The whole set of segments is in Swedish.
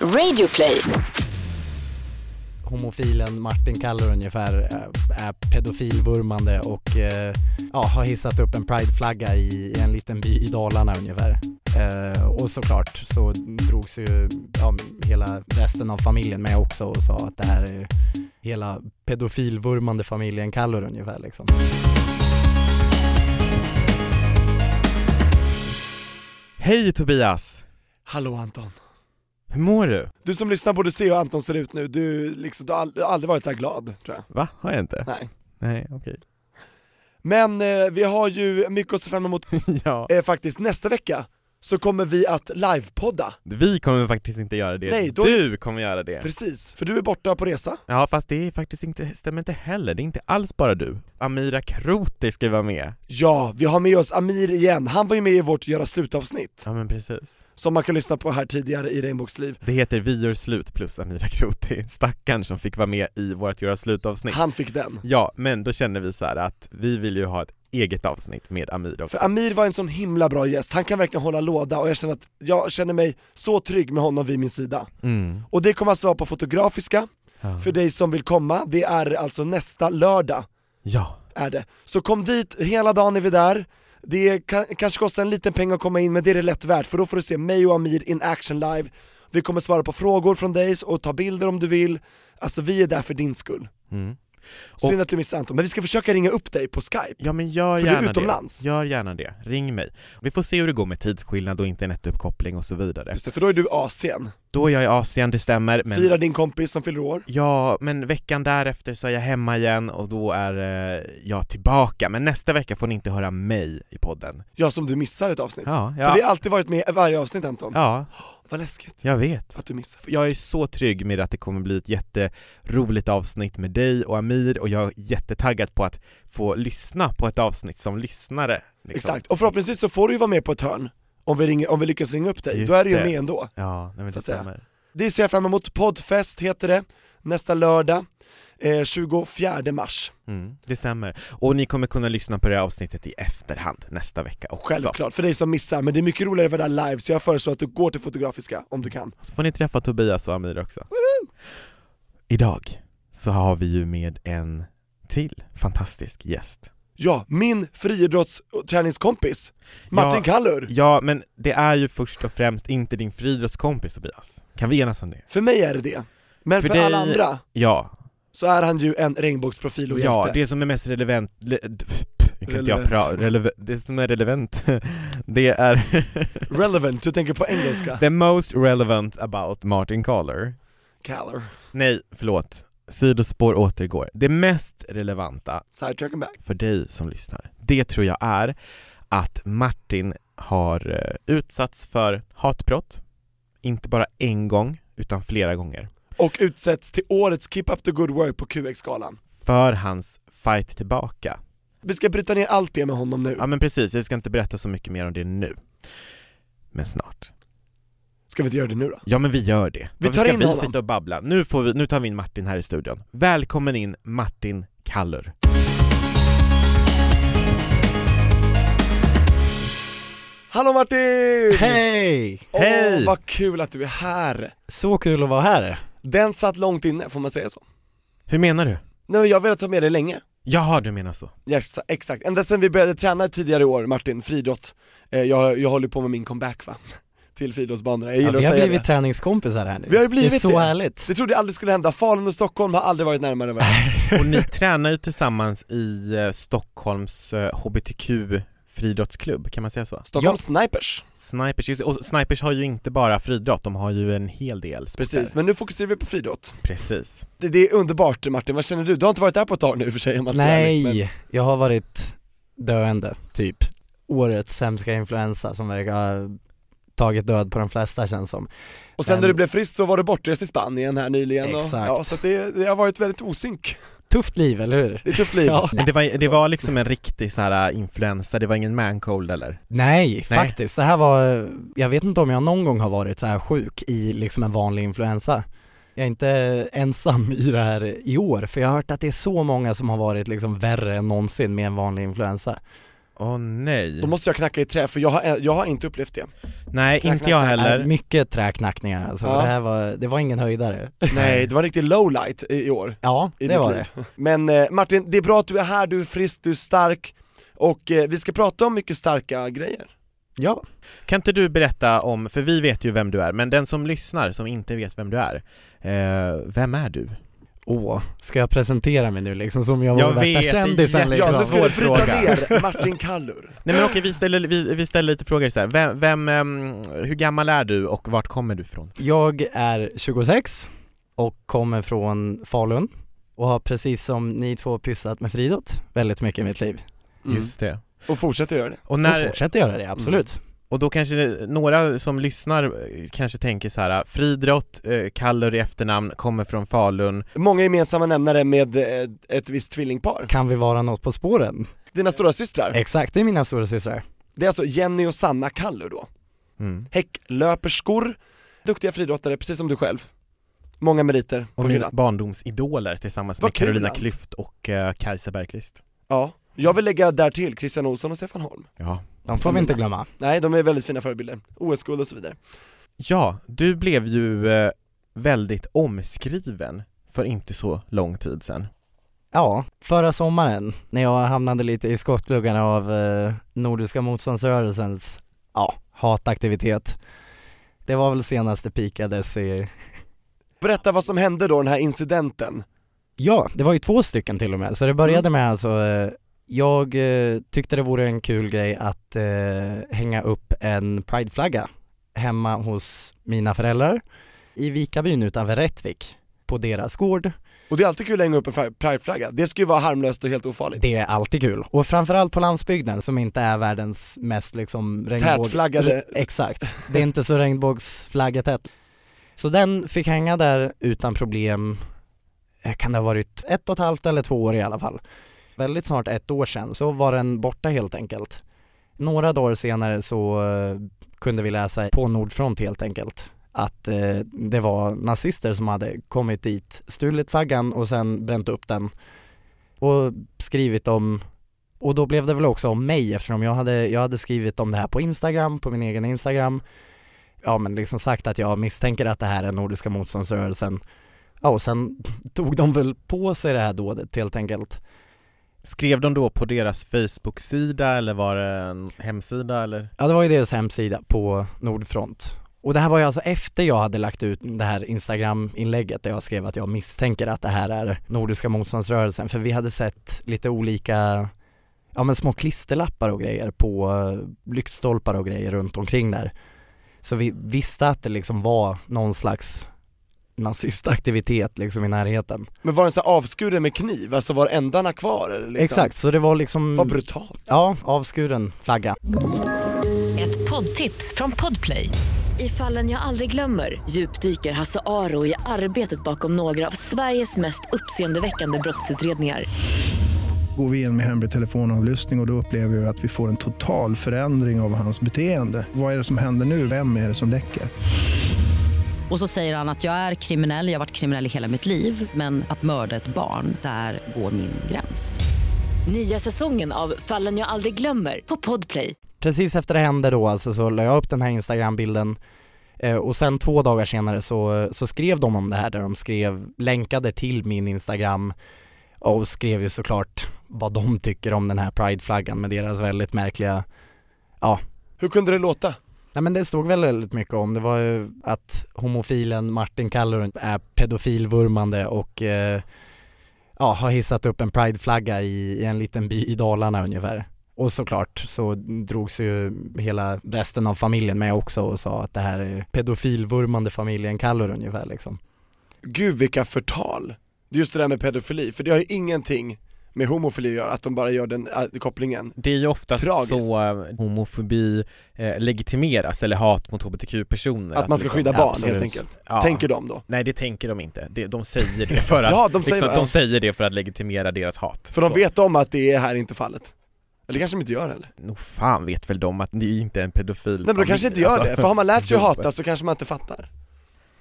Radioplay. homofilen Martin Kaller ungefär eh, är pedofilvurmande och eh, ja, har hissat upp en prideflagga i, i en liten by i Dalarna ungefär. Eh, och såklart så drogs ju ja, hela resten av familjen med också och sa att det här är ju hela pedofilvurmande familjen Kaller ungefär liksom. Hej Tobias! Hallå Anton. Hur mår du? Du som lyssnar borde se hur Anton ser ut nu, du, liksom, du har ald- aldrig varit så här glad tror jag. Va? Har jag inte? Nej. Nej, okej. Men eh, vi har ju mycket att se fram emot ja. eh, faktiskt, nästa vecka så kommer vi att livepodda, Vi kommer faktiskt inte göra det. Nej, då- Du kommer göra det. precis. För du är borta på resa. Ja, fast det är faktiskt inte, stämmer inte heller. Det är inte alls bara du. Amira Kroti ska vara med. Ja, vi har med oss Amir igen, han var ju med i vårt göra slut-avsnitt, Ja, men precis. som man kan lyssna på här tidigare i Regnbågs liv. Det heter Vi gör slut plus Amira Kroti. Stackarn som fick vara med i vårt Göra slut-avsnitt. Han fick den. Ja, men då känner vi så här att vi vill ju ha ett eget avsnitt med Amira också. För Amir var en sån himla bra gäst, han kan verkligen hålla låda och jag känner att jag känner mig så trygg med honom vid min sida. Mm. Och det kommer alltså vara på Fotografiska, Ja. för dig som vill komma, det är alltså nästa lördag ja. är det. Så kom dit, hela dagen är vi där, det är, ka- kanske kostar en liten peng att komma in men det är det lätt värt för då får du se mig och Amir in action live, vi kommer svara på frågor från dig och ta bilder om du vill, alltså vi är där för din skull. Mm. Och- Synd att du missar Anton, men vi ska försöka ringa upp dig på skype. Ja men gör För du är gärna utomlands. det. Gör gärna det. Ring mig. Vi får se hur det går med tidsskillnad och internetuppkoppling och så vidare. Just det, för då är du i Asien. Då är jag i Asien, det stämmer. Men... Fira din kompis som fyller år. Ja, men veckan därefter så är jag hemma igen och då är eh, jag tillbaka. Men nästa vecka får ni inte höra mig i podden. Ja, som du missar ett avsnitt. Ja, För vi ja, har alltid varit med i varje avsnitt Anton. ja Vad läskigt jag vet. att du missar. Jag är så trygg med att det kommer bli ett jätteroligt avsnitt med dig och Amir och jag är jättetaggad på att få lyssna på ett avsnitt som lyssnare. liksom. Exakt, och förhoppningsvis så får du ju vara med på ett hörn om vi, ringer, om vi lyckas ringa upp dig, Just då är du ju det. med ändå. Ja, nej, men Så det att säga. stämmer. Det ser jag fram emot, poddfest heter det, nästa lördag, eh, 24 mars. Mm, det stämmer. Och ni kommer kunna lyssna på det här avsnittet i efterhand nästa vecka också. Självklart, för dig som missar, men det är mycket roligare att vara där live, så jag föreslår att du går till Fotografiska om du kan. Så får ni träffa Tobias och Amir också. Idag så har vi ju med en till fantastisk gäst. Ja, min friidrottsträningskompis, Martin Ja. Kallur. Ja, men det är ju först och främst inte din friidrottskompis Tobias. Kan vi enas om det? För mig är det det, men För för, dig- alla andra Ja, så är han ju en regnbågsprofil och ja, hjälte. det som är mest relevant... Le, d- pff, nu kan inte jag pra, releve, det som är relevant, det är Relevant, du tänker på engelska? the most relevant about Martin Caller. Kallur, Nej, förlåt. Sidospår återgår. Det mest relevanta sidetrack and back. för dig som lyssnar, det tror jag är att Martin har eh, utsatts för hatbrott, inte bara en gång, utan flera gånger, Och utsätts till årets Keep Up The Good Work på QX-skalan. för hans fight tillbaka. Vi ska bryta ner allt det med honom nu. Ja men precis, jag ska inte berätta så mycket mer om det nu. Men snart. Ska vi inte göra det nu då? Ja men vi gör det. Vi tar ska in vi honom. sitta och babbla? Nu, får vi, nu tar vi in Martin här i studion. Välkommen in Martin Kallur. Hallå Martin! Hej! Åh, Hej! vad kul att du är här! Så kul att vara här. Den satt långt inne, får man säga så? Hur menar du? Nej men jag har velat ta med dig länge. Jaha, du menar så. Yes, exakt, ända sedan vi började träna tidigare i år, Martin, friidrott. Eh, jag, jag håller på med min comeback va? Till friidrottsbanorna, Ja, jag gillar vi att har säga blivit det. träningskompisar här nu. Vi har ju blivit det. är så det. härligt. Det trodde jag aldrig skulle hända, Falun och Stockholm har aldrig varit närmare varandra. Och ni tränar ju tillsammans i eh, Stockholms eh, HBTQ friidrottsklubb, kan man säga så? Stockholm Snipers, Snipers, just, det. och Snipers har ju inte bara friidrott, de har ju en hel del sporter. precis. Men nu fokuserar vi på friidrott. Precis. Det, det är underbart Martin, vad känner du? Du har inte varit där på ett tag nu i och för sig om man ska vara Nej, ärlig, men- jag har varit döende, typ. Årets sämska influensa som verkar ha tagit död på de flesta känns som. Och sen Men- när du blev frisk så var du bortrest i Spanien här nyligen och, Exakt. ja, så att det, det har varit väldigt osynk, Tufft liv, eller hur? det är tufft liv Ja. Men det var, det var liksom en riktig så här eh, influensa, det var ingen mancold eller? Nej, Nej. faktiskt. Det här var, jag vet inte om jag någon gång har varit så här sjuk i liksom en vanlig influensa. Jag är inte ensam i det här i år, för jag har hört att det är så många som har varit liksom värre än någonsin med en vanlig influensa. Åh nej. Då måste jag knacka i trä, för jag har, jag har inte upplevt det. Nej, Knack, inte jag knack, Nej, heller. Äh, Mycket träknackningar alltså, Ja. det här var, det var ingen höjdare. Nej, det var en riktig lowlight i, i år. Ja, i det ditt var liv. det. Men eh, Martin, det är bra att du är här, du är frisk, du är stark och eh, vi ska prata om mycket starka grejer. Ja, Kan inte du berätta om, för vi vet ju vem du är, men den som lyssnar som inte vet vem du är, eh, vem är du? åh, ska jag presentera mig nu liksom som jag var Jag värsta vet, det är kändisen jätte- Ja, liksom? nu bra. ska du Svår fråga. bryta ner Martin Kallur. Nej men okej, vi ställer, vi, vi ställer lite frågor så här. Vem, vem, ehm, hur gammal är du och vart kommer du ifrån? Jag är 26 och kommer från Falun och har precis som ni två pysslat med friidrott väldigt mycket i mitt liv. Mm. Just det. Och fortsätter göra det. Och, Och när, Mm. fortsätter göra det, absolut. och då kanske det- några som lyssnar eh, kanske tänker så här, friidrott, eh, Kallur i efternamn, kommer från Falun. Många gemensamma nämnare med eh, ett visst tvillingpar. Kan vi vara något på spåren? Dina stora systrar. Exakt, det är mina stora systrar. Det är alltså Jenny och Sanna Kallur då. Mm. Häcklöperskor, duktiga friidrottare precis som du själv. Många meriter på Och mina hyllan. barndomsidoler tillsammans Vad med Carolina kul. Klüft och eh, Kajsa Bergqvist. Ja. Jag vill lägga där till Christian Olsson och Stefan Holm. Ja. De får vi inte glömma. Nej, de är väldigt fina förebilder. OS-guld och så vidare. Ja, du blev ju eh, väldigt omskriven för inte så lång tid sedan. Ja, förra sommaren när jag hamnade lite i skottgluggarna av eh, Nordiska motståndsrörelsens ja, hataktivitet. Det var väl senast det pikades i Berätta vad som hände då, den här incidenten. Ja, det var ju två stycken till och med. Så det började med alltså, eh, jag eh, tyckte det vore en kul grej att eh, hänga upp en prideflagga hemma hos mina föräldrar i Vikabyn utanför Rättvik på deras gård. Och det är alltid kul att hänga upp en fri- prideflagga, det ska ju vara harmlöst och helt ofarligt. Det är alltid kul. Och framförallt på landsbygden som inte är världens mest liksom regnbåg... Tätflaggade. Exakt. Det är inte så regnbågsflaggetätt. Så den fick hänga där utan problem, eh, kan det ha varit ett och ett halvt eller två år i alla fall. Väldigt snart ett år sedan så var den borta helt enkelt. Några dagar senare så eh, kunde vi läsa på Nordfront helt enkelt att eh, det var nazister som hade kommit dit, stulit flaggan och sen bränt upp den och skrivit om och då blev det väl också om mig eftersom jag hade, jag hade skrivit om det här på Instagram, på min egen Instagram. Ja men liksom sagt att jag misstänker att det här är Nordiska motståndsrörelsen. Ja och sen tog de väl på sig det här dådet helt enkelt. Skrev de då på deras Facebook-sida eller var det en hemsida eller? Ja det var ju deras hemsida på Nordfront. Och det här var ju alltså efter jag hade lagt ut det här Instagram-inlägget där jag skrev att jag misstänker att det här är Nordiska motståndsrörelsen för vi hade sett lite olika, ja men små klisterlappar och grejer på eh, lyktstolpar och grejer runt omkring där. Så vi visste att det liksom var någon slags nazistaktivitet liksom i närheten. Men var den så här avskuren med kniv, alltså var ändarna kvar eller liksom? Exakt, så det var liksom, Mm. Vad brutalt. ja avskuren flagga. Ett poddtips från Podplay. I fallen jag aldrig glömmer djupdyker Hasse Aro i arbetet bakom några av Sveriges mest uppseendeväckande brottsutredningar. Går vi in med hemlig telefonavlyssning och, och då upplever vi att vi får en total förändring av hans beteende. Vad är det som händer nu? Vem är det som läcker? Och så säger han att jag är kriminell, jag har varit kriminell i hela mitt liv men att mörda ett barn, där går min gräns. Nya säsongen av Fallen jag aldrig glömmer på Podplay. precis efter det hände då alltså så la jag upp den här Instagram-bilden eh, och sen två dagar senare så, så skrev de om det här där de skrev, länkade till min Instagram och skrev ju såklart vad de tycker om den här prideflaggan med deras väldigt märkliga Hur kunde det låta? Nej men det stod väl väldigt mycket om, det var ju att homofilen Martin Kallur är pedofilvurmande och eh, ja, har hissat upp en prideflagga i, i en liten by i Dalarna ungefär. Och såklart så drogs ju hela resten av familjen med också och sa att det här är pedofilvurmande familjen Kallur ungefär liksom. Gud vilka förtal. Det är Just det där med pedofili, för det har ju ingenting med homofili att göra, att de bara gör den äh, kopplingen. Det är ju oftast Tragiskt. så eh, homofobi eh, legitimeras eller hat mot hbtq-personer. liksom. Att man ska skydda barn, helt enkelt. Ja. Tänker de då? Nej det tänker de inte, de, de säger det för att, Ja, de säger liksom, det. de säger det för att legitimera deras hat. För de Så. vet om att det är här inte fallet. Eller kanske de inte gör heller. Nog fan vet väl de att ni inte är en pedofil alltså. Nej men de kanske inte gör alltså, det, för har man lärt sig att Dumpen. hata så kanske man inte fattar.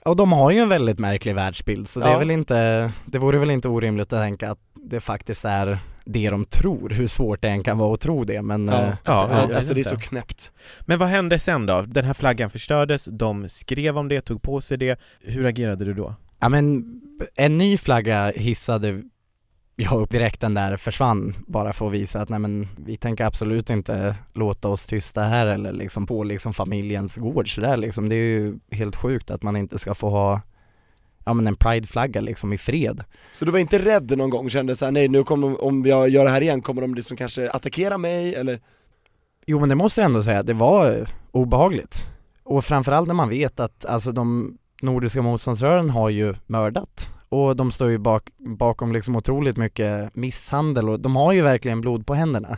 Och de har ju en väldigt märklig världsbild så det Ja. är väl inte, det vore väl inte orimligt att tänka att det faktiskt är det de tror, hur svårt det än kan vara att tro det men Ja. eh, Ja, jag Ja, vet alltså det är inte. så knäppt. Men vad hände sen då? Den här flaggan förstördes, de skrev om det, tog på sig det. Hur agerade du då? Ja men en ny flagga hissade jag upp direkt, den där försvann bara för att visa att nej men vi tänker absolut inte låta oss tysta här eller liksom på liksom familjens gård sådär liksom. Det är ju helt sjukt att man inte ska få ha ja men en prideflagga liksom i fred. Så du var inte rädd någon gång? Kände såhär, nej nu kommer de, om jag gör det här igen kommer de liksom kanske attackera mig eller? Jo men det måste jag ändå säga, det var eh, obehagligt. Och framförallt när man vet att alltså de nordiska motståndsrörelsen har ju mördat och de står ju bak, bakom liksom otroligt mycket misshandel och de har ju verkligen blod på händerna.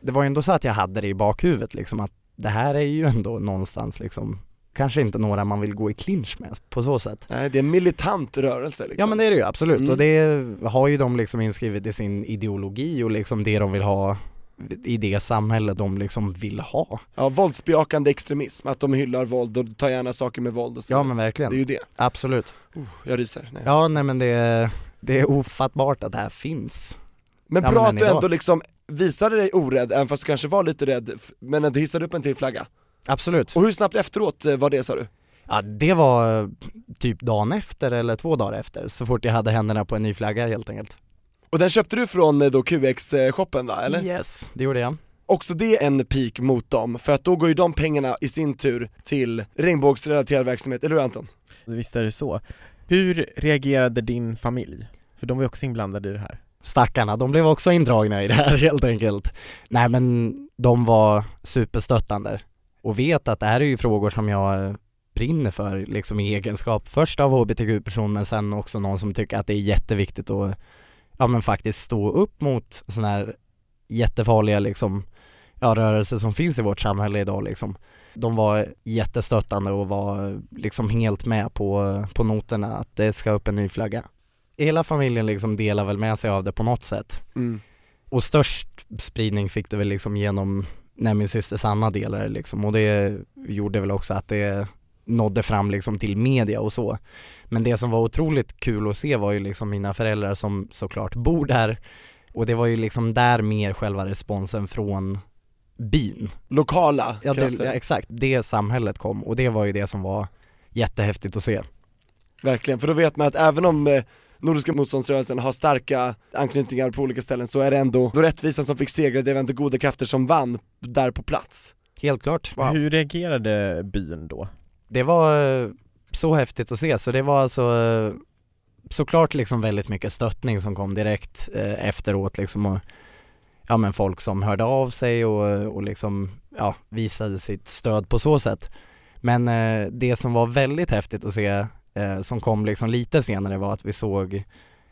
Det var ju ändå så att jag hade det i bakhuvudet liksom att det här är ju ändå någonstans liksom kanske inte några man vill gå i clinch med på så sätt. Nej det är en militant rörelse liksom. Ja men det är det ju absolut Mm. och det har ju de liksom inskrivet i sin ideologi och liksom det de vill ha i det samhälle de liksom vill ha. ja, våldsbejakande extremism, att de hyllar våld och tar gärna saker med våld och så. Ja men Det är verkligen, ju det. absolut. Jag ryser. Nej. Ja nej men det, det är ofattbart att det här finns. Men Ja, bra men att du idag. ändå liksom visade dig orädd, även fast du kanske var lite rädd, f- men att du hissade upp en till flagga. Absolut. Och hur snabbt efteråt eh, var det sa du? Ja det var typ dagen efter eller två dagar efter så fort jag hade händerna på en ny flagga helt enkelt. Och den köpte du från eh, då QX-shoppen va, eller? Yes, det gjorde jag. Också det är en pik mot dem, för att då går ju de pengarna i sin tur till regnbågsrelaterad verksamhet, eller hur Anton? Visst är det så. Hur reagerade din familj? För de var ju också inblandade i det här. Stackarna, de blev också indragna i det här helt enkelt. Nej men de var superstöttande och vet att det här är ju frågor som jag brinner för liksom i egenskap först av hbtq-person men sen också någon som tycker att det är jätteviktigt att ja men faktiskt stå upp mot sådana här jättefarliga liksom ja, rörelser som finns i vårt samhälle idag liksom. De var jättestöttande och var liksom helt med på, på noterna att det ska upp en ny flagga. Hela familjen liksom delar väl med sig av det på något sätt. Och störst spridning fick det väl liksom genom när min syster Sanna delade det liksom och det gjorde väl också att det nådde fram liksom till media och så. Men det som var otroligt kul att se var ju liksom mina föräldrar som såklart bor där och det var ju liksom där mer själva responsen från byn. Lokala Ja, det, krafter, ja exakt, det samhället kom och det var ju det som var jättehäftigt att se. verkligen. För då vet man att även om eh, Nordiska motståndsrörelsen har starka anknytningar på olika ställen så är det ändå då rättvisan som fick segra, det var inte goda krafter som vann där på plats. Helt klart. Hur reagerade byn då? Det var eh, så häftigt att se, så det var alltså eh, såklart liksom väldigt mycket stöttning som kom direkt eh, efteråt liksom och ja men folk som hörde av sig och, och liksom ja, visade sitt stöd på så sätt. Men eh, det som var väldigt häftigt att se eh, som kom liksom lite senare var att vi såg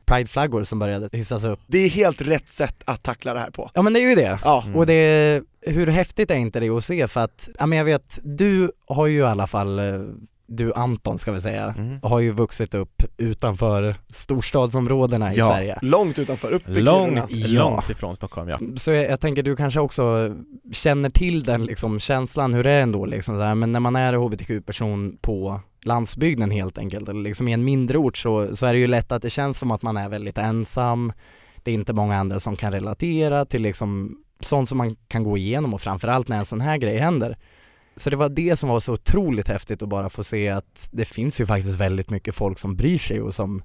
prideflaggor som började hissas upp. Det är helt rätt sätt att tackla det här på. Ja men det är ju det. Ja, Mm. Och det, hur häftigt är inte det att se för att, ja men jag vet, du har ju i alla fall, eh, du Anton ska vi säga, Mm. har ju vuxit upp utanför storstadsområdena i Ja. Sverige. långt utanför, upp i Kiruna. Långt, Ja. långt ifrån Stockholm ja. Så jag, jag tänker du kanske också känner till den liksom känslan hur det är ändå liksom så här, men när man är hbtq-person på landsbygden helt enkelt eller liksom i en mindre ort så, så är det ju lätt att det känns som att man är väldigt ensam. Det är inte många andra som kan relatera till liksom sånt som man kan gå igenom och framförallt när en sån här grej händer. Så det var det som var så otroligt häftigt att bara få se att det finns ju faktiskt väldigt mycket folk som bryr sig och som,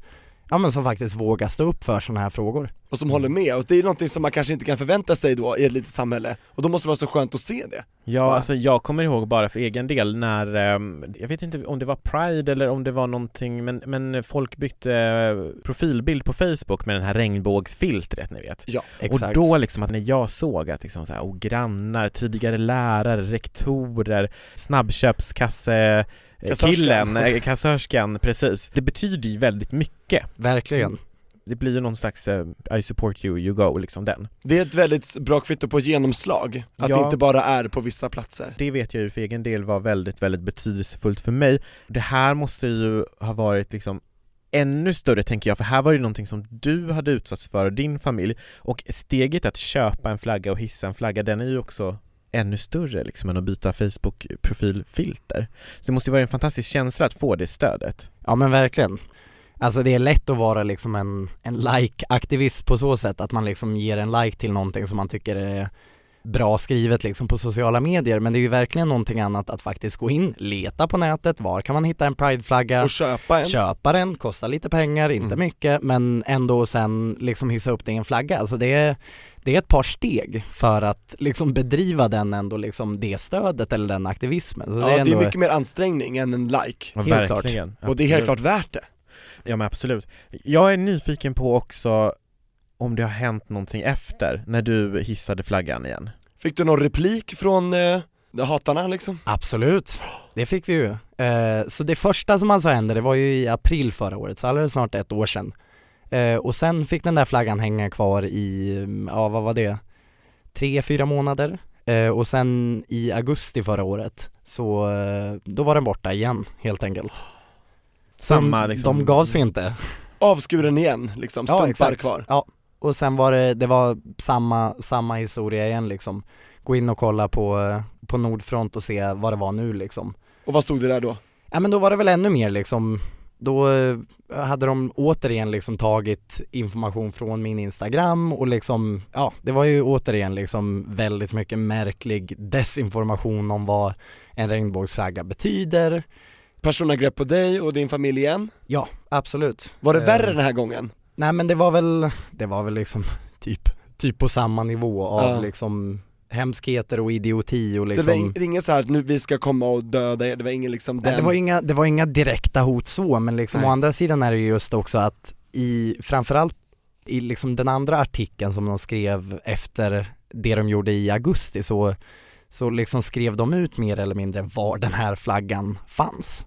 ja men som faktiskt vågar stå upp för sådana här frågor. och som håller med, och det är någonting som man kanske inte kan förvänta sig då i ett litet samhälle, och då måste det vara så skönt att se det. Ja, Va? alltså jag kommer ihåg bara för egen del när, ehm, jag vet inte om det var Pride eller om det var någonting, men, men folk bytte eh, profilbild på Facebook med den här regnbågsfiltret ni vet. Exakt. Och då liksom att när jag såg att liksom så här, och grannar, tidigare lärare, rektorer, snabbköpskasse eh, Kassörskan. killen, eh, kassörskan, precis. Det betyder ju väldigt mycket. Verkligen. Det blir ju någon slags eh, I support you, you go, liksom den. Det är ett väldigt bra kvitto på genomslag, att Ja. det inte bara är på vissa platser. Det vet jag ju för egen del var väldigt, väldigt betydelsefullt för mig. Det här måste ju ha varit liksom ännu större tänker jag, för här var det ju någonting som du hade utsatts för och din familj och steget att köpa en flagga och hissa en flagga, den är ju också ännu större liksom än att byta Facebook-profilfilter. Så det måste ju vara en fantastisk känsla att få det stödet. Ja men verkligen. Alltså det är lätt att vara liksom en, en like-aktivist på så sätt att man liksom ger en like till någonting som man tycker är bra skrivet liksom på sociala medier men det är ju verkligen någonting annat att faktiskt gå in, leta på nätet, var kan man hitta en prideflagga? Och köpa en. köpa den, kostar lite pengar, inte Mm. mycket, men ändå sen liksom hissa upp det i en flagga. Alltså det är, det är ett par steg för att liksom bedriva den ändå liksom det stödet eller den aktivismen. Så ja, det är det ändå, är mycket mer ansträngning än en like. Ja, Helt klart. verkligen. Och det är helt Absolut. klart värt det. Ja men absolut. Jag är nyfiken på också om det har hänt någonting efter, när du hissade flaggan igen. Fick du någon replik från eh, de hatarna liksom? Absolut, det fick vi ju. Eh, så det första som alltså hände, det var ju i april förra året, så alldeles snart ett år sedan. Eh, och sen fick den där flaggan hänga kvar i, mm, ja vad var det, tre, fyra månader. Eh, och sen i augusti förra året, så eh, då var den borta igen helt enkelt. Samma, de, liksom- de gav sig inte. Avskuren igen liksom, Ja, stumpar exakt. kvar. Ja, och sen var det, det var samma, samma historia igen liksom. Gå in och kolla på, eh, på Nordfront och se vad det var nu liksom. Och vad stod det där då? Ja men då var det väl ännu mer liksom, då eh, hade de återigen liksom tagit information från min Instagram och liksom, ja det var ju återigen liksom väldigt mycket märklig desinformation om vad en regnbågsflagga betyder. Personangrepp på dig och din familj igen. Ja, absolut. Var det Eh, värre den här gången? Nej men det var väl, det var väl liksom typ, typ på samma nivå av Ja. liksom hemskheter och idioti och Så det var liksom ing- det är inget så här att nu vi ska komma och döda er, det var ingen liksom den... Nej, det, var inga, det var inga direkta hot så, men liksom Nej. å andra sidan är det ju just också att i, framförallt i liksom den andra artikeln som de skrev efter det de gjorde i augusti så, så liksom skrev de ut mer eller mindre var den här flaggan fanns.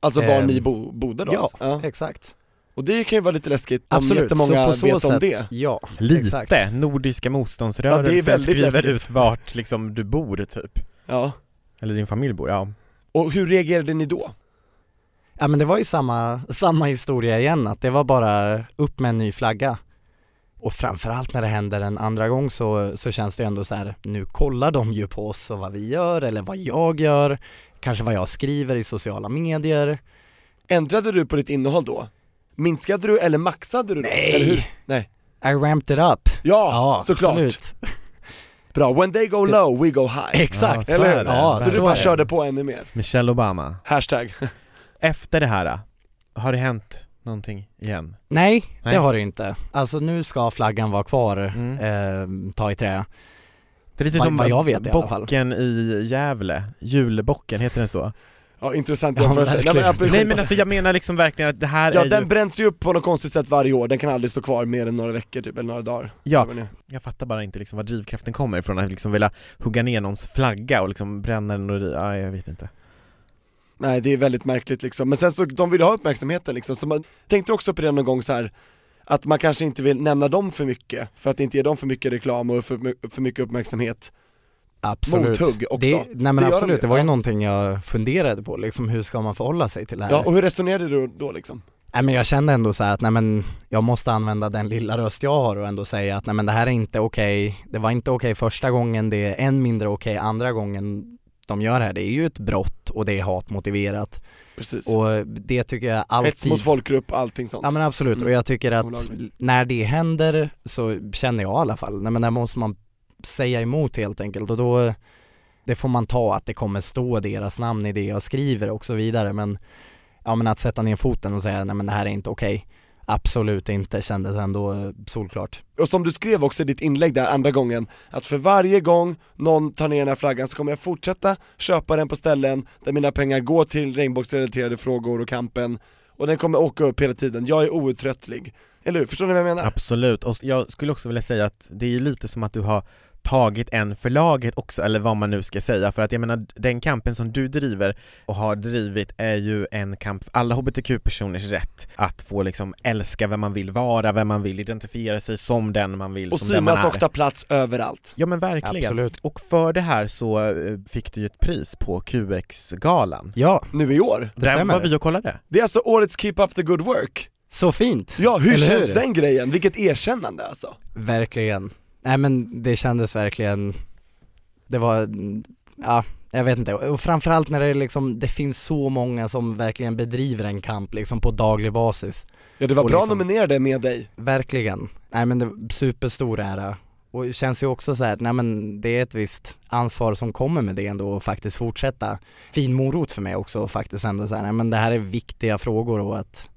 Alltså var Ehm, ni bo, bodde då? ja. Alltså. ja. Exakt. Och det kan ju vara lite läskigt om Absolut. jättemånga Så på så vet om sätt- det. Ja, Lite, exakt. Nordiska Ja, det är motståndsrörelsen väldigt skriver läskigt. ut vart liksom du bor typ, Ja. eller din familj bor, ja. Och hur reagerade ni då? Ja men det var ju samma, samma historia igen, att det var bara upp med en ny flagga. Och framförallt när det händer en andra gång så, så känns det ändå så här, nu kollar de ju på oss och vad vi gör eller vad jag gör, kanske vad jag skriver i sociala medier. Ändrade du på ditt innehåll då? Minskade du eller maxade du då? Eller hur? Nej! Nej. I ramped it up. Ja, såklart! absolut. Bra, when they go low, we go high. Exakt. Ja, så eller är hur? det. Ja, Så du så är bara det. körde på ännu mer. Michelle Obama. Hashtag. Efter det här, har det hänt någonting igen? Nej, Nej. det har det inte. Alltså nu ska flaggan vara kvar, Mm. eh, ta i trä. Det är lite Vad- som vad jag vet i alla fall. bocken i Gävle, julbocken, heter den så? Ja, intressant Ja, jämförelse. Nej, men, ja, verkligen. precis. Nej men alltså jag menar liksom verkligen att det här Ja är den ju, bränns ju upp på något konstigt sätt varje år, den kan aldrig stå kvar mer än några veckor typ, eller några dagar ja, Men, jag fattar bara inte liksom var drivkraften kommer ifrån, att liksom vilja hugga ner någons flagga och liksom bränna den och, ri- ja, jag vet inte Nej det är väldigt märkligt liksom, men sen så, de vill ha uppmärksamheten liksom, så man tänkte också på det någon gång så här att man kanske inte vill nämna dem för mycket, för att inte ge dem för mycket reklam och för, my- för mycket uppmärksamhet Absolut. Mothugg också. Det, nej men Det gör de ju. absolut, det var ju Ja. någonting jag funderade på liksom, hur ska man förhålla sig till det här? Ja, och hur resonerade du då liksom? Nej men jag kände ändå så här att nej men jag måste använda den lilla röst jag har och ändå säga att nej men det här är inte okej, det var inte okej första gången, det är än mindre okej andra gången de gör det här. Det är ju ett brott och det är hatmotiverat Precis, och det tycker jag hets alltid mot folkgrupp, allting sånt Ja men absolut, Mm. och jag tycker att Olagligt. när det händer så känner jag i alla fall, nej men där måste man säga emot helt enkelt och då det får man ta att det kommer stå deras namn i det jag skriver och så vidare men ja men att sätta ner foten och säga nej men det här är inte okej Absolut inte, kändes ändå eh, solklart. Och som du skrev också i ditt inlägg där andra gången, att för varje gång någon tar ner den här flaggan så kommer jag fortsätta köpa den på ställen där mina pengar går till regnbågsrelaterade frågor och kampen och den kommer åka upp hela tiden, jag är outtröttlig. Eller hur? Förstår ni vad jag menar? Absolut, och jag skulle också vilja säga att det är lite som att du har tagit en för laget också, eller vad man nu ska säga, för att jag menar den kampen som du driver och har drivit är ju en kamp för alla hbtq-personers rätt att få liksom älska vem man vill vara, vem man vill identifiera sig som den man vill, Och som den man synas är. och ta plats överallt. Ja men verkligen. Absolut. Och för det här så eh, fick du ju ett pris på QX-galan. Ja, Nu i år. Det Där stämmer. var vi och kollade. Det är alltså årets Keep Up The Good Work. så fint! Ja, hur Eller känns hur? den grejen? Vilket erkännande alltså. Verkligen. Nej men det kändes verkligen, det var ja, jag vet inte. Och framförallt när det är liksom, det finns så många som verkligen bedriver en kamp liksom på daglig basis. Ja det var Och bra liksom- nominerade med dig. Verkligen. Nej men det superstor ära. Och det känns ju också så här, att, nej men det är ett visst ansvar som kommer med det ändå och faktiskt fortsätta. Fin morot för mig också och faktiskt ändå så här, nej men det här är viktiga frågor och att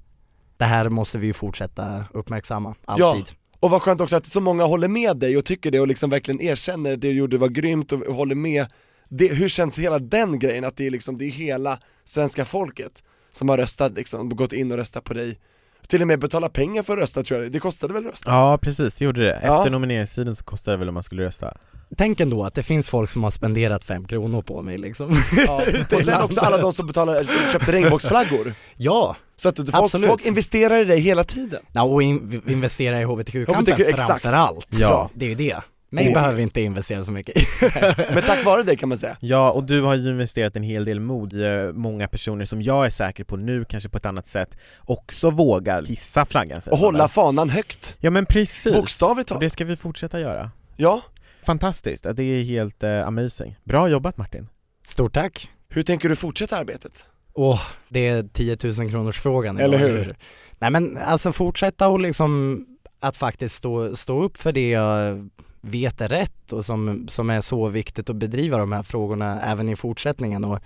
det här måste vi ju fortsätta uppmärksamma, alltid. Och vad skönt också att så många håller med dig och tycker det och liksom verkligen erkänner det du gjorde var grymt och håller med. Det, hur känns hela den grejen? Att det är liksom, det är hela svenska folket som har röstat liksom, gått in och röstat på dig. Till och med betala pengar för att rösta tror jag, det kostade väl att rösta? Ja precis, det gjorde det. Efter Ja. nomineringstiden så kostade det väl om man skulle rösta. Tänk ändå att det finns folk som har spenderat fem kronor på mig liksom. Och sen också alla de som betalade, köpte regnbågsflaggor. ja, Så att du- folk, Absolut. folk investerar i dig hela tiden. Ja, och in, investera i hbtq-kampen HBTQ, exakt. framförallt. Ja. Det är ju det. Mig Och- behöver vi inte investera så mycket i. Men tack vare dig kan man säga. Ja, och du har ju investerat en hel del mod i eh, många personer som jag är säker på nu, kanske på ett annat sätt, också vågar hissa flaggan. säger Och man hålla väl. fanan högt. Ja men precis. Bokstavligt Och talat. det ska vi fortsätta göra. Ja. Fantastiskt, det är helt eh, amazing. Bra jobbat Martin. Stort tack. Hur tänker du fortsätta arbetet? Åh, det är 10 000 kronors frågan Eller hur? Nej men alltså fortsätta och liksom att faktiskt stå, stå upp för det jag vet är rätt och som, som är så viktigt att bedriva de här frågorna även i fortsättningen och,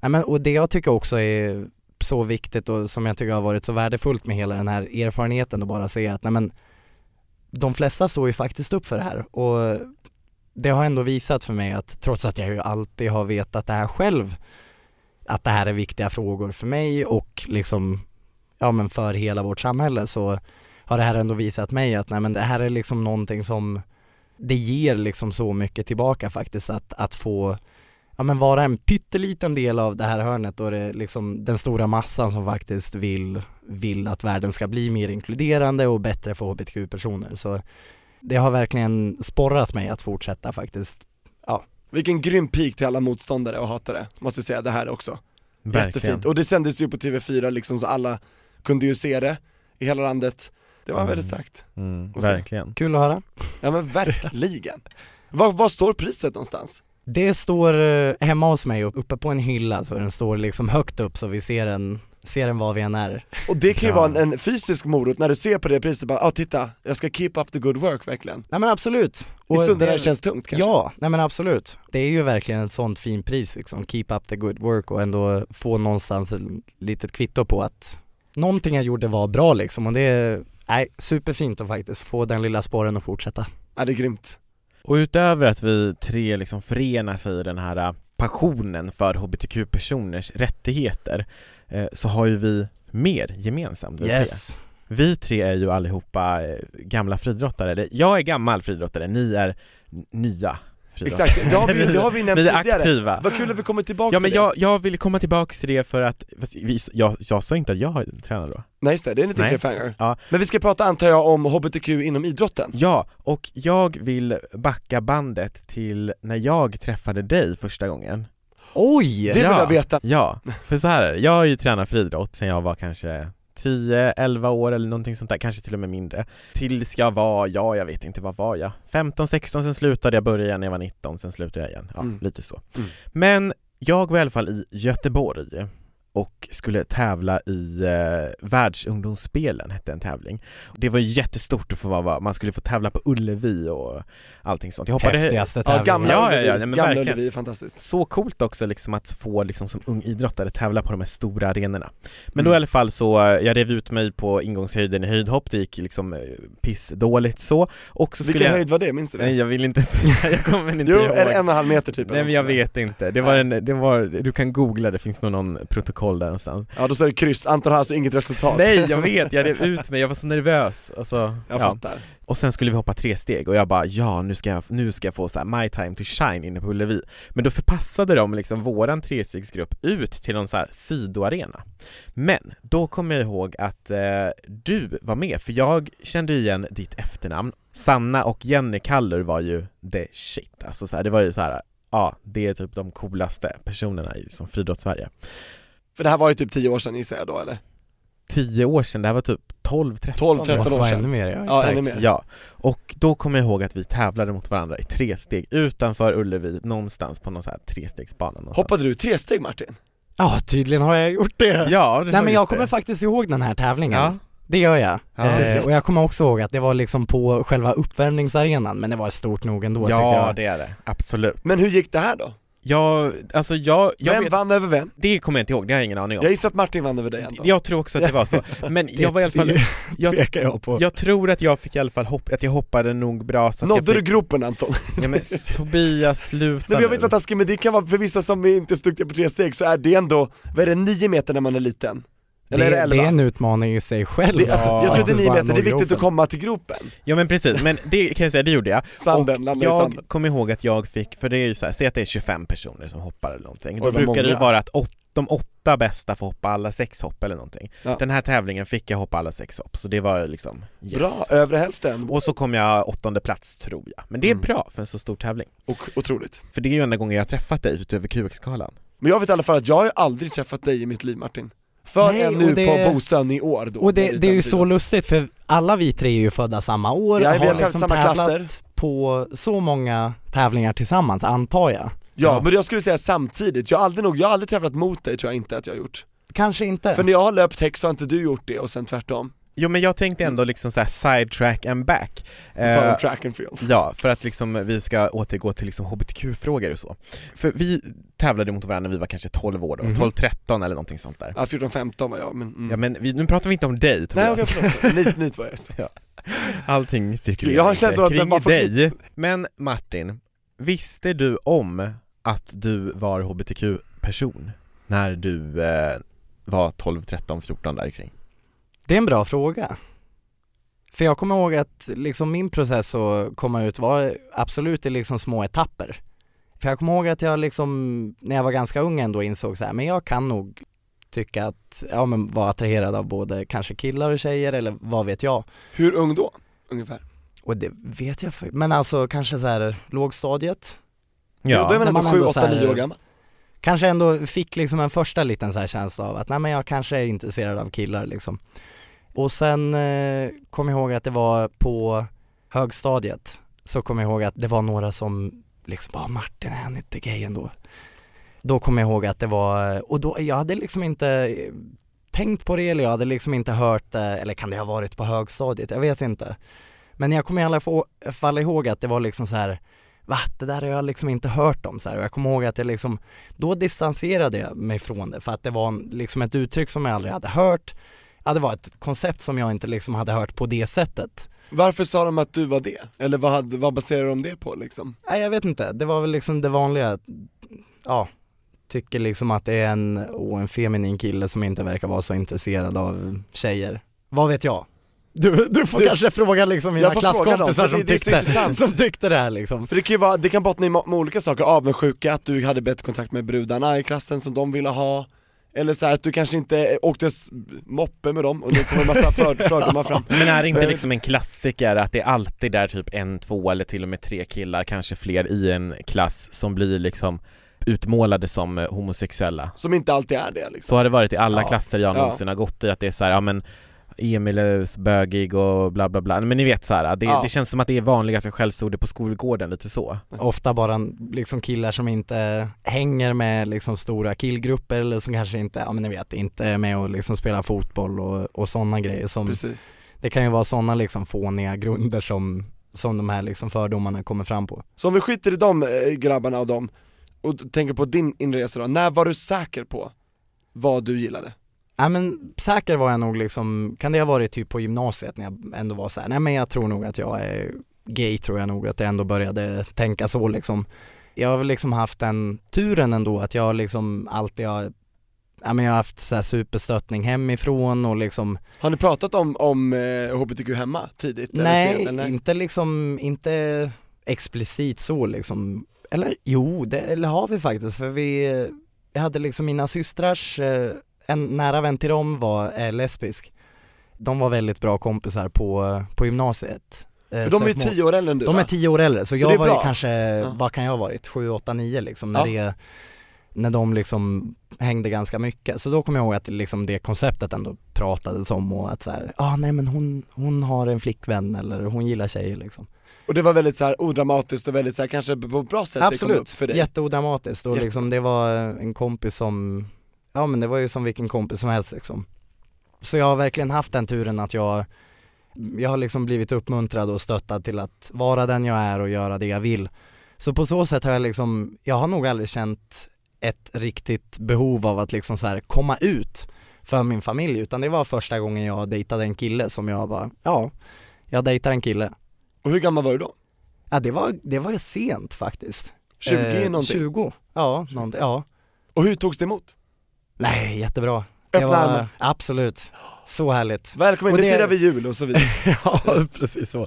nej men, och det jag tycker också är så viktigt och som jag tycker har varit så värdefullt med hela den här erfarenheten och bara se att nej men de flesta står ju faktiskt upp för det här och det har ändå visat för mig att trots att jag ju alltid har vetat det här själv att det här är viktiga frågor för mig och liksom ja men för hela vårt samhälle så har det här ändå visat mig att nej men det här är liksom någonting som det ger liksom så mycket tillbaka faktiskt att, att få ja men vara en pytteliten del av det här hörnet och det är liksom den stora massan som faktiskt vill, vill att världen ska bli mer inkluderande och bättre för hbtq-personer så det har verkligen sporrat mig att fortsätta faktiskt. Vilken grym pik till alla motståndare och hatare, måste jag säga det här också. Jättefint, och det sändes ju på TV4 liksom så alla kunde ju se det i hela landet. Det var Mm. väldigt starkt. Mm, Och så- verkligen. Kul att höra. Ja men verkligen. Var, var står priset någonstans? Det står eh, hemma hos mig upp- uppe på en hylla så den står liksom högt upp så vi ser den, ser den var vi än är. Och det kan ju Ja. vara en, en fysisk morot när du ser på det priset, bara ah, titta, jag ska keep up the good work verkligen. Nej men absolut. I stunder när det- det känns tungt kanske. Ja, nej men absolut. Det är ju verkligen ett sånt fint pris liksom, keep up the good work och ändå få någonstans ett litet kvitto på att någonting jag gjorde var bra liksom och det är, nej, superfint att faktiskt få den lilla spåren att fortsätta. Ja det är grymt. Och utöver att vi tre liksom förenas i den här eh, passionen för hbtq-personers rättigheter eh, så har ju vi mer gemensamt. vi tre. Yes. Vi tre är ju allihopa eh, gamla friidrottare, eller jag är gammal friidrottare, ni är n- nya friidrottare. Exakt, det har vi, det har vi nämnt Vi är tidigare. aktiva. Vad kul att vi kommer tillbaka Ja men till det. jag, jag ville komma tillbaks till det för att, fast vi, jag, jag sa inte att jag har tränat då. Nej just det, det är en liten Nej. cliffhanger. Ja. Men vi ska prata antar jag om HBTQ inom idrotten. Ja, och jag vill backa bandet till när jag träffade dig första gången. Oj! Det vill Ja. jag veta. Ja, för så här är det. jag har ju tränat friidrott sedan jag var kanske 10, 11 år eller någonting sånt där, kanske till och med mindre. Tills jag var, ja jag vet inte, vad var jag? 15, 16, sen slutade jag, började igen när jag var 19, sen slutade jag igen. Ja, Mm. lite så. Mm. Men jag var i alla fall i Göteborg och skulle tävla i eh, världsungdomsspelen, hette en tävling. Det var jättestort att få vara, man skulle få tävla på Ullevi och allting sånt. Jag hoppade, Häftigaste Ja, gamla Ja, ja, Ullevi, ja, nej, men gamla verkligen. Ullevi är fantastiskt. så coolt också liksom att få liksom som ung idrottare tävla på de här stora arenorna. Men då Mm. i alla fall så, eh, jag rev ut mig på ingångshöjden i höjdhopp, det gick liksom eh, pissdåligt så. Och så skulle Vilken jag... höjd var det, minns du det? Nej jag vill inte säga, jag kommer inte jo, ihåg. är det en och en halv meter typ? Nej men jag vet inte, det var en, det var, du kan googla, det finns nog någon protokoll där någonstans. Ja då står det kryss, Anton har alltså inget resultat. Nej jag vet, jag rev ut mig, jag var så nervös och så, Jag ja. fattar. Och sen skulle vi hoppa tre steg och jag bara ja, nu ska jag, nu ska jag få så här my time to shine inne på Ullevi. Men då förpassade de liksom våran trestegsgrupp ut till någon så här sidoarena. Men då kommer jag ihåg att eh, du var med, för jag kände ju igen ditt efternamn. Sanna och Jenny Kallur var ju the shit, alltså så här, det var ju så här, ja, det är typ de coolaste personerna i som friidrotts-Sverige. För det här var ju typ tio år sedan gissar jag då eller? 10 år sedan, det här var typ 12, 13 12, 13 Måste år vara sedan. ännu mer, ja, Ja, exakt. ännu mer. Ja, och då kommer jag ihåg att vi tävlade mot varandra i tre steg utanför Ullevi, någonstans på någon så här trestegsbana någonstans. Hoppade du tre steg Martin? ja, tydligen har jag gjort det. Ja, det Nej var men jag lite- kommer faktiskt ihåg den här tävlingen. Ja, Det gör jag. Ja. Eh, och jag kommer också ihåg att det var liksom på själva uppvärmningsarenan, men det var stort nog ändå tyckte ja jag. det är det, absolut. Men hur gick det här då? Jag, alltså jag, jag Vem vet, vann över vem? det kommer jag inte ihåg, det har jag ingen aning om. Jag gissar att Martin vann över dig ändå. Jag tror också att det var så, men jag var i alla fall, jag, pekar jag på. jag tror att jag fick i alla fall hopp, att jag hoppade nog bra så att Nådde jag du fick, gropen Anton? Nej, ja, men s- Tobias sluta men jag vet nu. vad taskigt men det kan vara för vissa som inte är så duktiga på tre steg så är det ändå, vad är det, nio meter när man är liten? Eller det, är det det är elva? en utmaning i sig själv. Det, alltså, jag tror det är nio Bara meter, det några är viktigt open. att komma till gropen. Ja men precis, men det kan jag säga, det gjorde jag. Sanden, och landade i jag sanden. kommer ihåg att jag fick, för det är ju så här, säg att det är 25 personer som hoppar eller någonting, då Oj, vad brukar det ju många. vara att åt, de åtta bästa får hoppa alla sex hopp eller någonting. Ja. Den här tävlingen fick jag hoppa alla sex hopp, så det var ju liksom yes. Bra, övre hälften. Och så kom jag åttonde plats tror jag, men det är Mm. bra för en så stor tävling. Och, otroligt. För det är ju enda gången jag har träffat dig utöver QX-galan. Men jag vet i alla fall att jag har ju aldrig träffat dig i mitt liv Martin. Nej, Förrän och nu det- på Bosön i år då. Och det, när vi det är ju träffade så dig. lustigt för alla vi tre är ju födda samma år Ja, vi och har har tävlat liksom samma tävlat klasser. på så många tävlingar tillsammans antar jag. Ja, Ja. men jag skulle säga samtidigt, jag har aldrig nog, jag har aldrig tävlat mot dig tror jag inte att jag har gjort. Kanske inte. För när jag har löpt häck så har inte du gjort det och sen tvärtom. Jo men jag tänkte ändå liksom så här sidetrack and back. Mm. Vi talar Eh, om track and field. Ja, för att liksom vi ska återgå till liksom hbtq-frågor och så. För vi tävlade mot varandra när vi var kanske 12 år då, Mhm. 12-13 eller någonting sånt där. Ja, 14-15 var jag, men... Mm. Ja men vi, nu pratar vi inte om dig Tobias. Nej okej förlåt, nit, nit var jag just. Allting cirkulerar Jag har en inte känsla av att kring man får dig. Men Martin, visste du om att du var hbtq-person när du eh, var 12, 13, 14 där kring? Det är en bra fråga. För jag kommer ihåg att liksom min process att komma ut var absolut i liksom små etapper. För jag kommer ihåg att jag liksom, när jag var ganska ung ändå insåg så här, men jag kan nog tycka att, ja men vara attraherad av både kanske killar och tjejer eller vad vet jag. Hur ung då? Ungefär. Och det vet jag för, men alltså kanske så här lågstadiet. Ja, då är man när ändå man 7, ändå 8, så här- 9 år gammal. Kanske ändå fick liksom en första liten så här känsla av att nej men jag kanske är intresserad av killar liksom. Och sen eh, kom jag ihåg att det var på högstadiet så kom jag ihåg att det var några som liksom bara Martin är han inte gay ändå? Då kom jag ihåg att det var, och då, jag hade liksom inte eh, tänkt på det eller jag hade liksom inte hört det, eller kan det ha varit på högstadiet? Jag vet inte. Men jag kommer i alla få- fall ihåg att det var liksom så här va? Det där har jag liksom inte hört om så här. Och jag kommer ihåg att jag liksom, då distanserade jag mig från det för att det var en, liksom ett uttryck som jag aldrig hade hört. Ja, det var ett koncept som jag inte liksom hade hört på det sättet. Varför sa de att du var det? Eller vad, hade, vad baserar de det på liksom? Nej, jag vet inte. Det var väl liksom det vanliga. Ja, tycker liksom att det är en, åh, en feminin kille som inte verkar vara så intresserad av tjejer. Vad vet jag? Du, du får Du- kanske fråga liksom mina Jag får fråga dem, klasskompisar för det- som, det är så tyckte, intressant. som tyckte det här liksom. För det kan ju vara, det kan bottna i ma- med olika saker, avundsjuka, att du hade bättre kontakt med brudarna i klassen som de ville ha eller så här, att du kanske inte åkte s- moppe med dem och nu kommer en massa för, fördomar fram. Men är det inte Men- liksom en klassiker att det alltid är typ en, två eller till och med tre killar, kanske fler i en klass som blir liksom utmålade som eh, homosexuella? Som inte alltid är det liksom. Så har det varit i alla Ja. klasser jag Ja. någonsin har gått i, att det är så här, ja men Emil är bögig och bla bla bla, men ni vet så här, det, Ja. det känns som att det är vanligaste skällsordet på skolgården lite så ofta bara liksom killar som inte hänger med liksom stora killgrupper eller som kanske inte, ja men ni vet, inte är med och liksom spelar fotboll och, och sådana grejer som, Precis. det kan ju vara sådana liksom fåniga grunder som, som de här liksom fördomarna kommer fram på. Så om vi skiter i de eh, grabbarna och dem och t- tänker på din inresa då, när var du säker på vad du gillade? Nej men säker var jag nog liksom, kan det ha varit typ på gymnasiet när jag ändå var så här, nej men jag tror nog att jag är gay tror jag nog att jag ändå började tänka så liksom. Jag har väl liksom haft den turen ändå att jag liksom alltid har, ja men jag har haft så här superstöttning hemifrån och liksom, Har ni pratat om, om eh, HBTQ hemma tidigt? eller sen, nej, eller? inte liksom, inte explicit så liksom. Eller jo, det eller har vi faktiskt för vi, jag hade liksom mina systrars, eh, en nära vän till dem var är lesbisk. De var väldigt bra kompisar på, på gymnasiet. Eh, För de är ju tio år äldre än du De är va? tio år äldre, så, Så det är jag var ju bra. kanske, Ja. vad kan jag ha varit, sju, åtta, nio liksom när Ja. det när de liksom hängde ganska mycket. Så då kommer jag ihåg att liksom det konceptet ändå pratades om och att så här, ah, nej men hon, hon har en flickvän eller hon gillar tjejer liksom. Och det var väldigt så här odramatiskt och väldigt så här, kanske på ett bra sätt det kom upp Absolut, för dig. jätteodramatiskt och Jätte- liksom det var en kompis som, ja men det var ju som vilken kompis som helst liksom. Så jag har verkligen haft den turen att jag, jag har liksom blivit uppmuntrad och stöttad till att vara den jag är och göra det jag vill. Så på så sätt har jag liksom, jag har nog aldrig känt ett riktigt behov av att liksom så här komma ut för min familj utan det var första gången jag dejtade en kille som jag bara, ja, jag dejtar en kille. Och hur gammal var du då? Ja det var, det var sent faktiskt. 20 Eh, någonting? 20, ja, någonting, ja. Och hur togs det emot? Nej, jättebra. Öppna armar. Absolut. Så härligt. Välkommen, Och nu det- firar vi jul och så vidare. ja, precis så.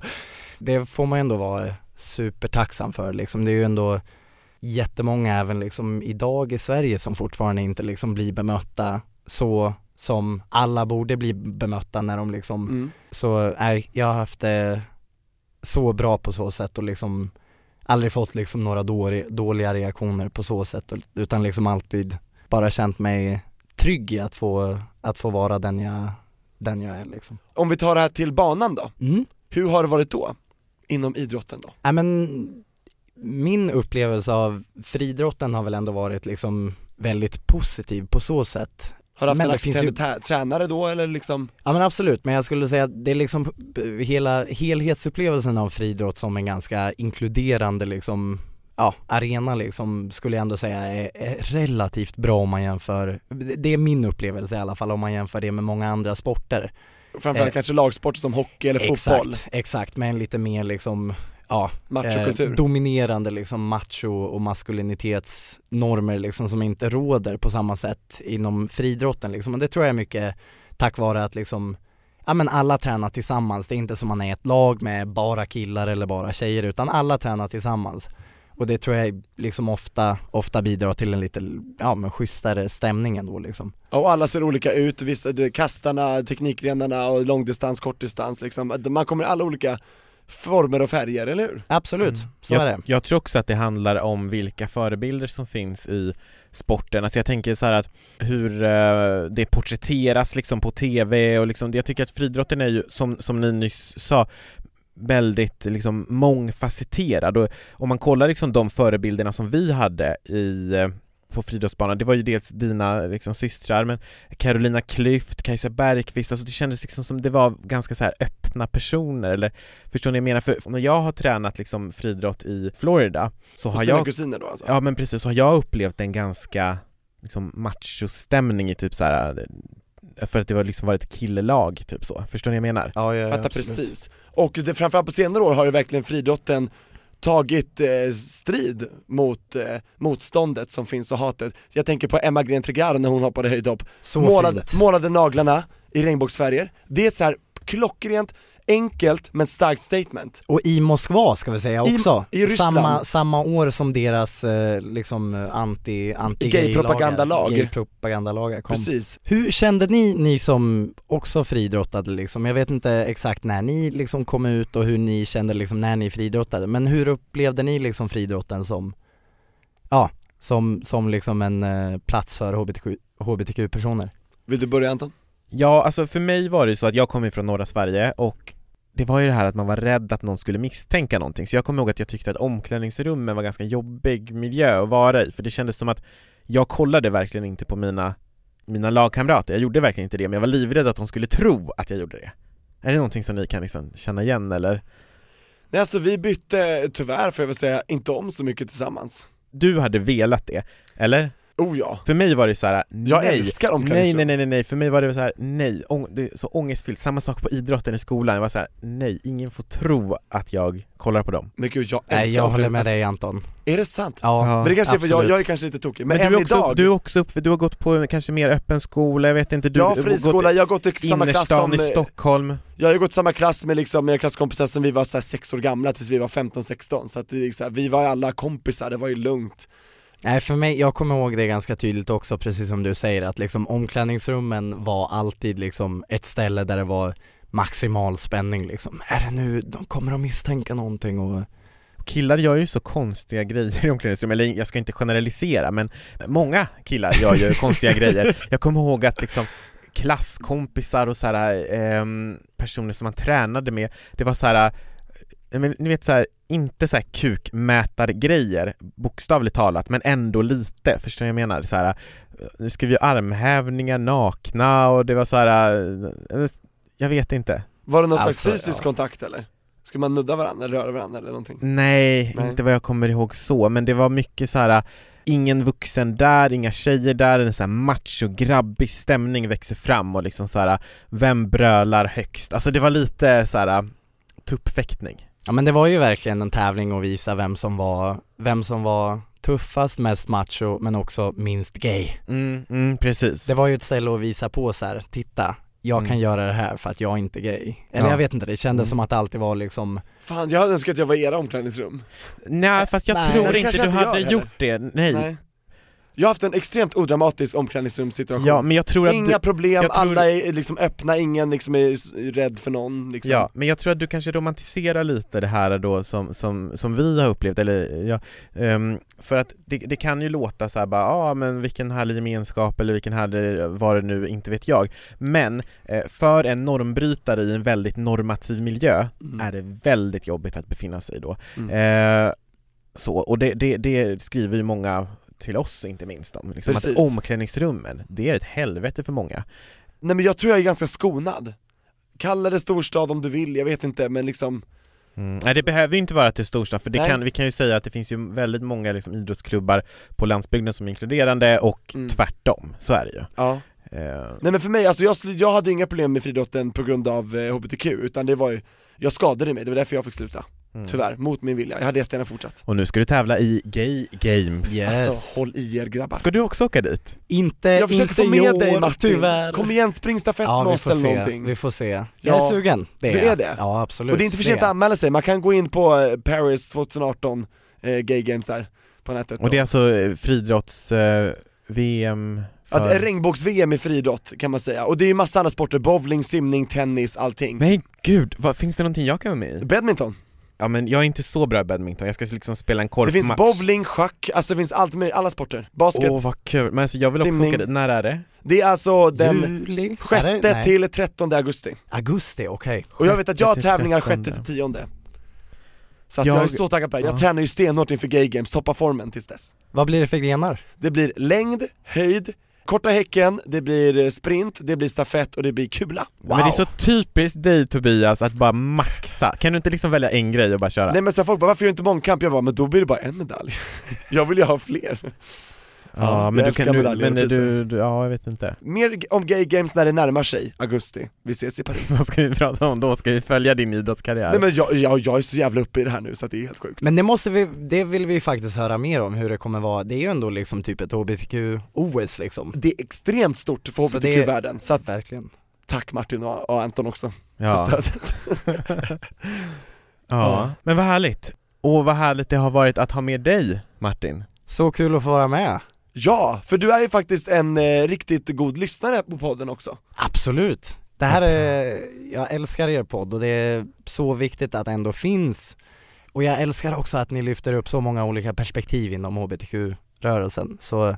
Det får man ju ändå vara supertacksam för liksom. Det är ju ändå jättemånga även liksom idag i Sverige som fortfarande inte liksom blir bemötta så som alla borde bli bemötta när de liksom Mm. Så nej, jag har haft det så bra på så sätt och liksom aldrig fått liksom några dåri- dåliga reaktioner på så sätt och- utan liksom alltid bara känt mig trygg i att få, att få vara den jag, den jag är liksom. Om vi tar det här till banan då, Mm. hur har det varit då? Inom idrotten då? Nej men min upplevelse av friidrotten har väl ändå varit liksom väldigt positiv på så sätt. Har du haft Men en det finns accepterande tä- tränare då eller liksom? Ja men absolut, men jag skulle säga att det är liksom b- hela helhetsupplevelsen av friidrott som en ganska inkluderande liksom, ja, arena liksom skulle jag ändå säga är, är relativt bra om man jämför, det det är min upplevelse i alla fall om man jämför det med många andra sporter. Framförallt Eh, kanske lagsporter som hockey eller fotboll, Exakt, exakt, men lite mer liksom, ja, machokultur? eh, dominerande liksom macho och maskulinitetsnormer liksom som inte råder på samma sätt inom friidrotten liksom. Och det tror jag är mycket tack vare att liksom Ja men alla tränar tillsammans, det är inte som man är ett lag med bara killar eller bara tjejer utan alla tränar tillsammans. Och det tror jag liksom ofta, ofta bidrar till en lite, ja men schysstare stämning ändå liksom. Ja, Och alla ser olika ut, vissa, du, kastarna, teknikgrenarna och långdistans, kortdistans liksom. Att Man kommer i alla olika former och färger, eller hur? Absolut, Mm. så jag, är det. Jag tror också att det handlar om vilka förebilder som finns i sporten. Alltså jag tänker så här att hur eh, det porträtteras liksom på TV och liksom, jag tycker att friidrotten är ju, som, som ni nyss sa, väldigt liksom mångfacetterad och om man kollar liksom de förebilderna som vi hade i eh, på friidrottsbanan, det var ju dels dina liksom, systrar men Carolina Klüft, Kajsa Bergqvist, alltså det kändes liksom som det var ganska så här öppna personer eller Förstår ni vad jag menar? För när jag har tränat liksom friidrott i Florida så Hos har dina jag, kusiner då alltså? ja men precis, så har jag upplevt en ganska liksom machostämning i typ så här för att det var liksom varit ett killelag typ så, förstår ni vad jag menar? Ja, ja, Fattar absolut. precis. Och det, framförallt på senare år har ju verkligen friidrotten tagit eh, strid mot eh, motståndet som finns och hatet. Jag tänker på Emma Gren Trigaro när hon hoppade höjdhopp, Så målade, fint. målade naglarna i regnbågsfärger. Det är så här klockrent, enkelt men starkt statement. Och i Moskva ska vi säga I- också. i Ryssland. samma, samma år som deras eh, liksom eh, anti, anti Gay-propagandalag. Gay-propagandalagar kom. Precis. Hur kände ni, ni som också friidrottade liksom? Jag vet inte exakt när ni liksom kom ut och hur ni kände liksom när ni friidrottade, men hur upplevde ni liksom friidrotten som, ja, som, som liksom en eh, plats för HBTQ, hbtq-personer? Vill du börja Anton? Ja, alltså för mig var det ju så att jag kom ifrån norra Sverige och det var ju det här att man var rädd att någon skulle misstänka någonting, så jag kommer ihåg att jag tyckte att omklädningsrummen var ganska jobbig miljö att vara i, för det kändes som att jag kollade verkligen inte på mina, mina lagkamrater, jag gjorde verkligen inte det, men jag var livrädd att de skulle tro att jag gjorde det. Är det någonting som ni kan liksom känna igen eller? Nej alltså vi bytte tyvärr får jag väl säga, inte om så mycket tillsammans. Du hade velat det, eller? Oh ja. För mig var det så här: Jag nej, älskar Nej, omklädningsrum. nej, nej, nej, nej, för mig var det så här, nej, ång- det är så ångestfyllt, samma sak på idrotten i skolan, jag var så här, nej, ingen får tro att jag kollar på dem Men gud jag älskar Nej, jag håller med omklädningsrum. dig Anton. Är det sant? Ja, Ja, Men det kanske är för jag, absolut. jag är kanske lite tokig, men, Men, du, än är också, idag, du, är också upp, du har gått på en kanske mer öppen skola, jag vet inte, du jag har friskola, jag har gått i gått samma klass innerstan som, eh, i Stockholm jag har ju gått samma klass med liksom mina klasskompisar sen vi var så här sex år gamla tills vi var 15-16, så att det är så här, vi var alla kompisar, det var ju lugnt. Nej för mig, jag kommer ihåg det ganska tydligt också precis som du säger att liksom omklädningsrummen var alltid liksom ett ställe där det var maximal spänning liksom. Är det nu, de kommer att misstänka någonting och Killar gör ju så konstiga grejer i omklädningsrummet, eller jag ska inte generalisera men många killar gör ju konstiga grejer. Jag kommer ihåg att liksom klasskompisar och så här, ehm, personer som man tränade med, det var så här eh, men, ni vet så här, inte så här kukmätargrejer, bokstavligt talat, men ändå lite, förstår ni vad jag menar? Så här, eh, nu ska vi göra armhävningar nakna och det var så här, eh, jag vet inte. Var det någon Alltså, slags fysisk ja. kontakt eller? Skulle man nudda varandra, röra varandra eller någonting? Nej, Nej. inte vad jag kommer ihåg så, men det var mycket så här äh, ingen vuxen där, inga tjejer där, en så här macho, grabbig stämning växer fram och liksom så här vem brölar högst? Alltså det var lite så här äh, tuppfäktning. Ja men det var ju verkligen en tävling att visa vem som var, vem som var tuffast, mest macho men också minst gay. Mm, mm, precis. Det var ju ett ställe att visa på så här, titta, jag kan Mm. göra det här för att jag är inte gay. Eller Ja. jag vet inte, det kändes Mm. som att det alltid var liksom, Fan, jag hade önskat att jag var i era omklädningsrum. Nej, fast jag Nej. tror Det inte kanske du inte jag hade heller. gjort det. Nej. Nej. Jag har haft en extremt odramatisk omklädningsrumssituation. Ja, men jag tror att Inga du... problem, jag tror- alla är liksom öppna, ingen liksom är s- rädd för någon liksom. Ja, men jag tror att du kanske romantiserar lite det här då som, som, som vi har upplevt, eller ja, ehm, för att det, det kan ju låta så här bara, ja ah, men vilken härlig gemenskap eller vilken härlig, vad det nu, inte vet jag. Men eh, för en normbrytare i en väldigt normativ miljö Mm. är det väldigt jobbigt att befinna sig då. Mm. Eh, så, och det, det, det skriver ju många till oss inte minst om, liksom att Precis. omklädningsrummen, det är ett helvete för många. Nej men jag tror jag är ganska skonad. Kalla det storstad om du vill, jag vet inte men liksom, Mm. Nej det behöver ju inte vara till storstad för det Nej. kan, vi kan ju säga att det finns ju väldigt många liksom, idrottsklubbar på landsbygden som är inkluderande och Mm. tvärtom, så är det ju. ja. Eh, Nej men för mig, alltså jag, sl- jag hade inga problem med friidrotten på grund av eh, HBTQ, utan det var ju, jag skadade mig, det var därför jag fick sluta. mm. Tyvärr, mot min vilja, jag hade jättegärna fortsatt. Och nu ska du tävla i Gay Games. Yes. Alltså håll i er grabbar. Ska du också åka dit? inte, Jag försöker inte få i med år, dig Martin, tyvärr. kom igen spring stafett ja, med vi oss får eller se, någonting. vi får se. Jag Ja. är sugen, det Du jag. är det? Ja absolut. Och det är inte för sent är att anmäla sig, man kan gå in på eh, Paris 2018, eh, Gay Games där, på nätet. Och det är alltså eh, friidrotts eh, VM Ja, det är för... regnbågs-VM i friidrott kan man säga, och det är ju massa andra sporter, bowling, simning, tennis, allting. Men gud, vad, finns det någonting jag kan vara med i? Badminton, Ja men jag är inte så bra i badminton, jag ska liksom spela en det finns korpmatch. bowling, schack, alltså det finns allt med alla sporter. Basket, Åh vad kul, men alltså jag vill också Simning. åka dit, när är det? det är alltså den Juli? Är det? 6 Nej. till 13 augusti. Augusti, okej. Och jag vet att jag har Sjätte till tävlingar 6 trettonde. till 10 Så att jag, Jag- är så taggad på det här. jag Ja. tränar ju stenhårt inför Gay Games, toppar formen tills dess. Vad blir det för grenar? Det blir längd, höjd, korta häcken, det blir eh, sprint, det blir stafett och det blir kula. Men det är så typiskt dig Tobias att bara maxa, kan du inte liksom välja en grej och bara köra? Nej men sen folk bara, varför gör du inte mångkamp? Jag bara, men då blir det bara en medalj. jag vill ju ha fler. Ja, Ja, jag men du älskar kan, du, medaljer och men du, priser. du, ja jag vet inte. Mer g- om gay games när det närmar sig augusti, vi ses i Paris. Vad ska vi prata om då? Ska vi följa din idrottskarriär? Nej men jag, jag, jag är så jävla uppe i det här nu så att det är helt sjukt. Men det måste vi, det vill vi faktiskt höra mer om hur det kommer vara. Det är ju ändå liksom typ ett HBTQ-OS liksom. Det är extremt stort för Så det är- hbtq-världen, så att Verkligen. tack Martin och, och Anton också för ja. stödet. ja. Men vad härligt. Och vad härligt det har varit att ha med dig Martin. Så kul att få vara med. Ja, för du är ju faktiskt en eh, riktigt god lyssnare på podden också. Absolut! Det här är, jag älskar er podd och det är så viktigt att det ändå finns och jag älskar också att ni lyfter upp så många olika perspektiv inom hbtq-rörelsen så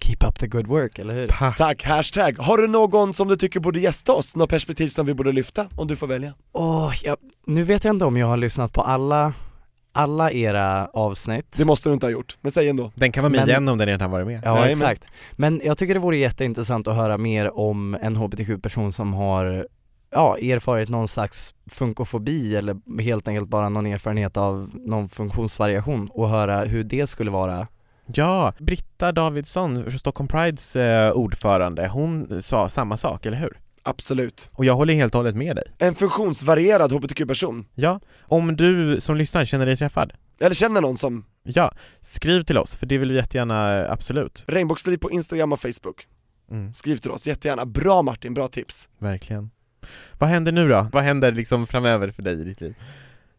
keep up the good work, eller hur? Tack. Tack, hashtag. Har du någon som du tycker borde gästa oss? Något perspektiv som vi borde lyfta? Om du får välja. Åh, jag, nu vet jag inte om jag har lyssnat på alla, alla era avsnitt Det måste du inte ha gjort, men säg ändå. Den kan vara med Men- igen om den redan har varit med. Ja Nej, men- exakt, men jag tycker det vore jätteintressant att höra mer om en hbtq-person som har ja, erfarit någon slags funkofobi eller helt enkelt bara någon erfarenhet av någon funktionsvariation och höra hur det skulle vara Ja, Britta Davidsson, Stockholm Prides eh, ordförande, hon sa samma sak, eller hur? Absolut. Och jag håller helt och hållet med dig. En funktionsvarierad hbtq-person, Ja, om du som lyssnar känner dig träffad, eller känner någon som ja, skriv till oss för det vill vi jättegärna, eh, absolut. Regnbågsliv på Instagram och Facebook. Mm. Skriv till oss jättegärna. Bra Martin, bra tips. Verkligen. Vad händer nu då? Vad händer liksom framöver för dig i ditt liv?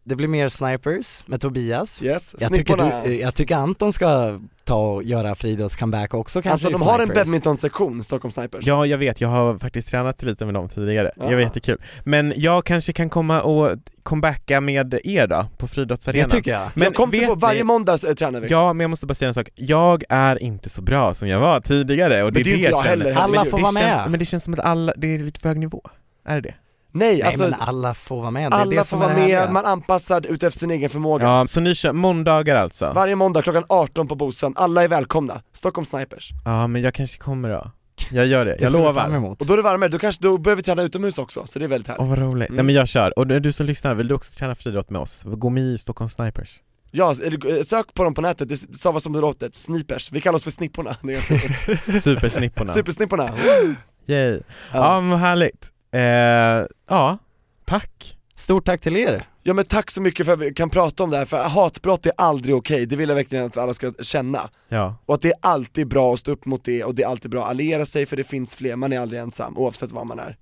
Det blir mer snipers med Tobias. Yes, Jag tycker, snipporna. du, jag tycker Anton ska ta och göra Fridos comeback också kanske Anton, i de har en snipers. badmintonsektion, Stockholm Snipers. Ja, jag vet. Jag har faktiskt tränat lite med dem tidigare. Ah. Det var jättekul. Men jag kanske kan komma och comebacka med er då, på Det friidrottsarenan. tycker jag. Men jag kom vet till på, varje ni- måndag eh, tränar vi. Ja, men jag måste bara säga en sak. Jag är inte så bra som jag var tidigare och det Men är det är ju inte jag känner. heller, Alla herregud. får det vara med. känns, Men det känns som att alla, det är lite för hög nivå. Är det det? Nej, Nej alltså men alla får vara med, det är alla det får som är vara det med, härliga. man anpassar utifrån sin egen förmåga. Ja, så ni kör måndagar alltså? Varje måndag klockan 18 på Bosön, alla är välkomna. Stockholm Snipers. Ja, men jag kanske kommer då. Jag gör det, Det jag ser vi fram lovar. emot. Och då är det varmare, då kanske, då börjar vi träna utomhus också, så det är väldigt härligt. Åh vad roligt. Nej Mm. men jag kör. Och du, du som lyssnar, vill du också träna friidrott med oss? Gå med i Stockholm Snipers. Ja, eller, eh, sök på dem på nätet, det stavas som det låter, snipers. Vi kallar oss för snipporna. Det är ganska kul. Supersnipporna. Supersnipporna. Yay. Ja Ja. men vad härligt. Eh, ja, tack. Stort tack till er. ja men tack så mycket för att vi kan prata om det här, för hatbrott är aldrig okej, det vill jag verkligen att alla ska känna. Ja. Och att det är alltid bra att stå upp mot det, och det är alltid bra att alliera sig för det finns fler, man är aldrig ensam oavsett var man är.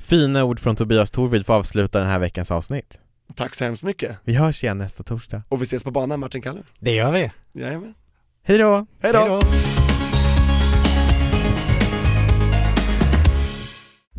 Fina ord från Tobias Torvid för att avsluta den här veckans avsnitt. Tack så hemskt mycket, Vi hörs igen nästa torsdag. och vi ses på banan Martin Kalle. Det gör vi. Jajamän. Hej då! Hej då!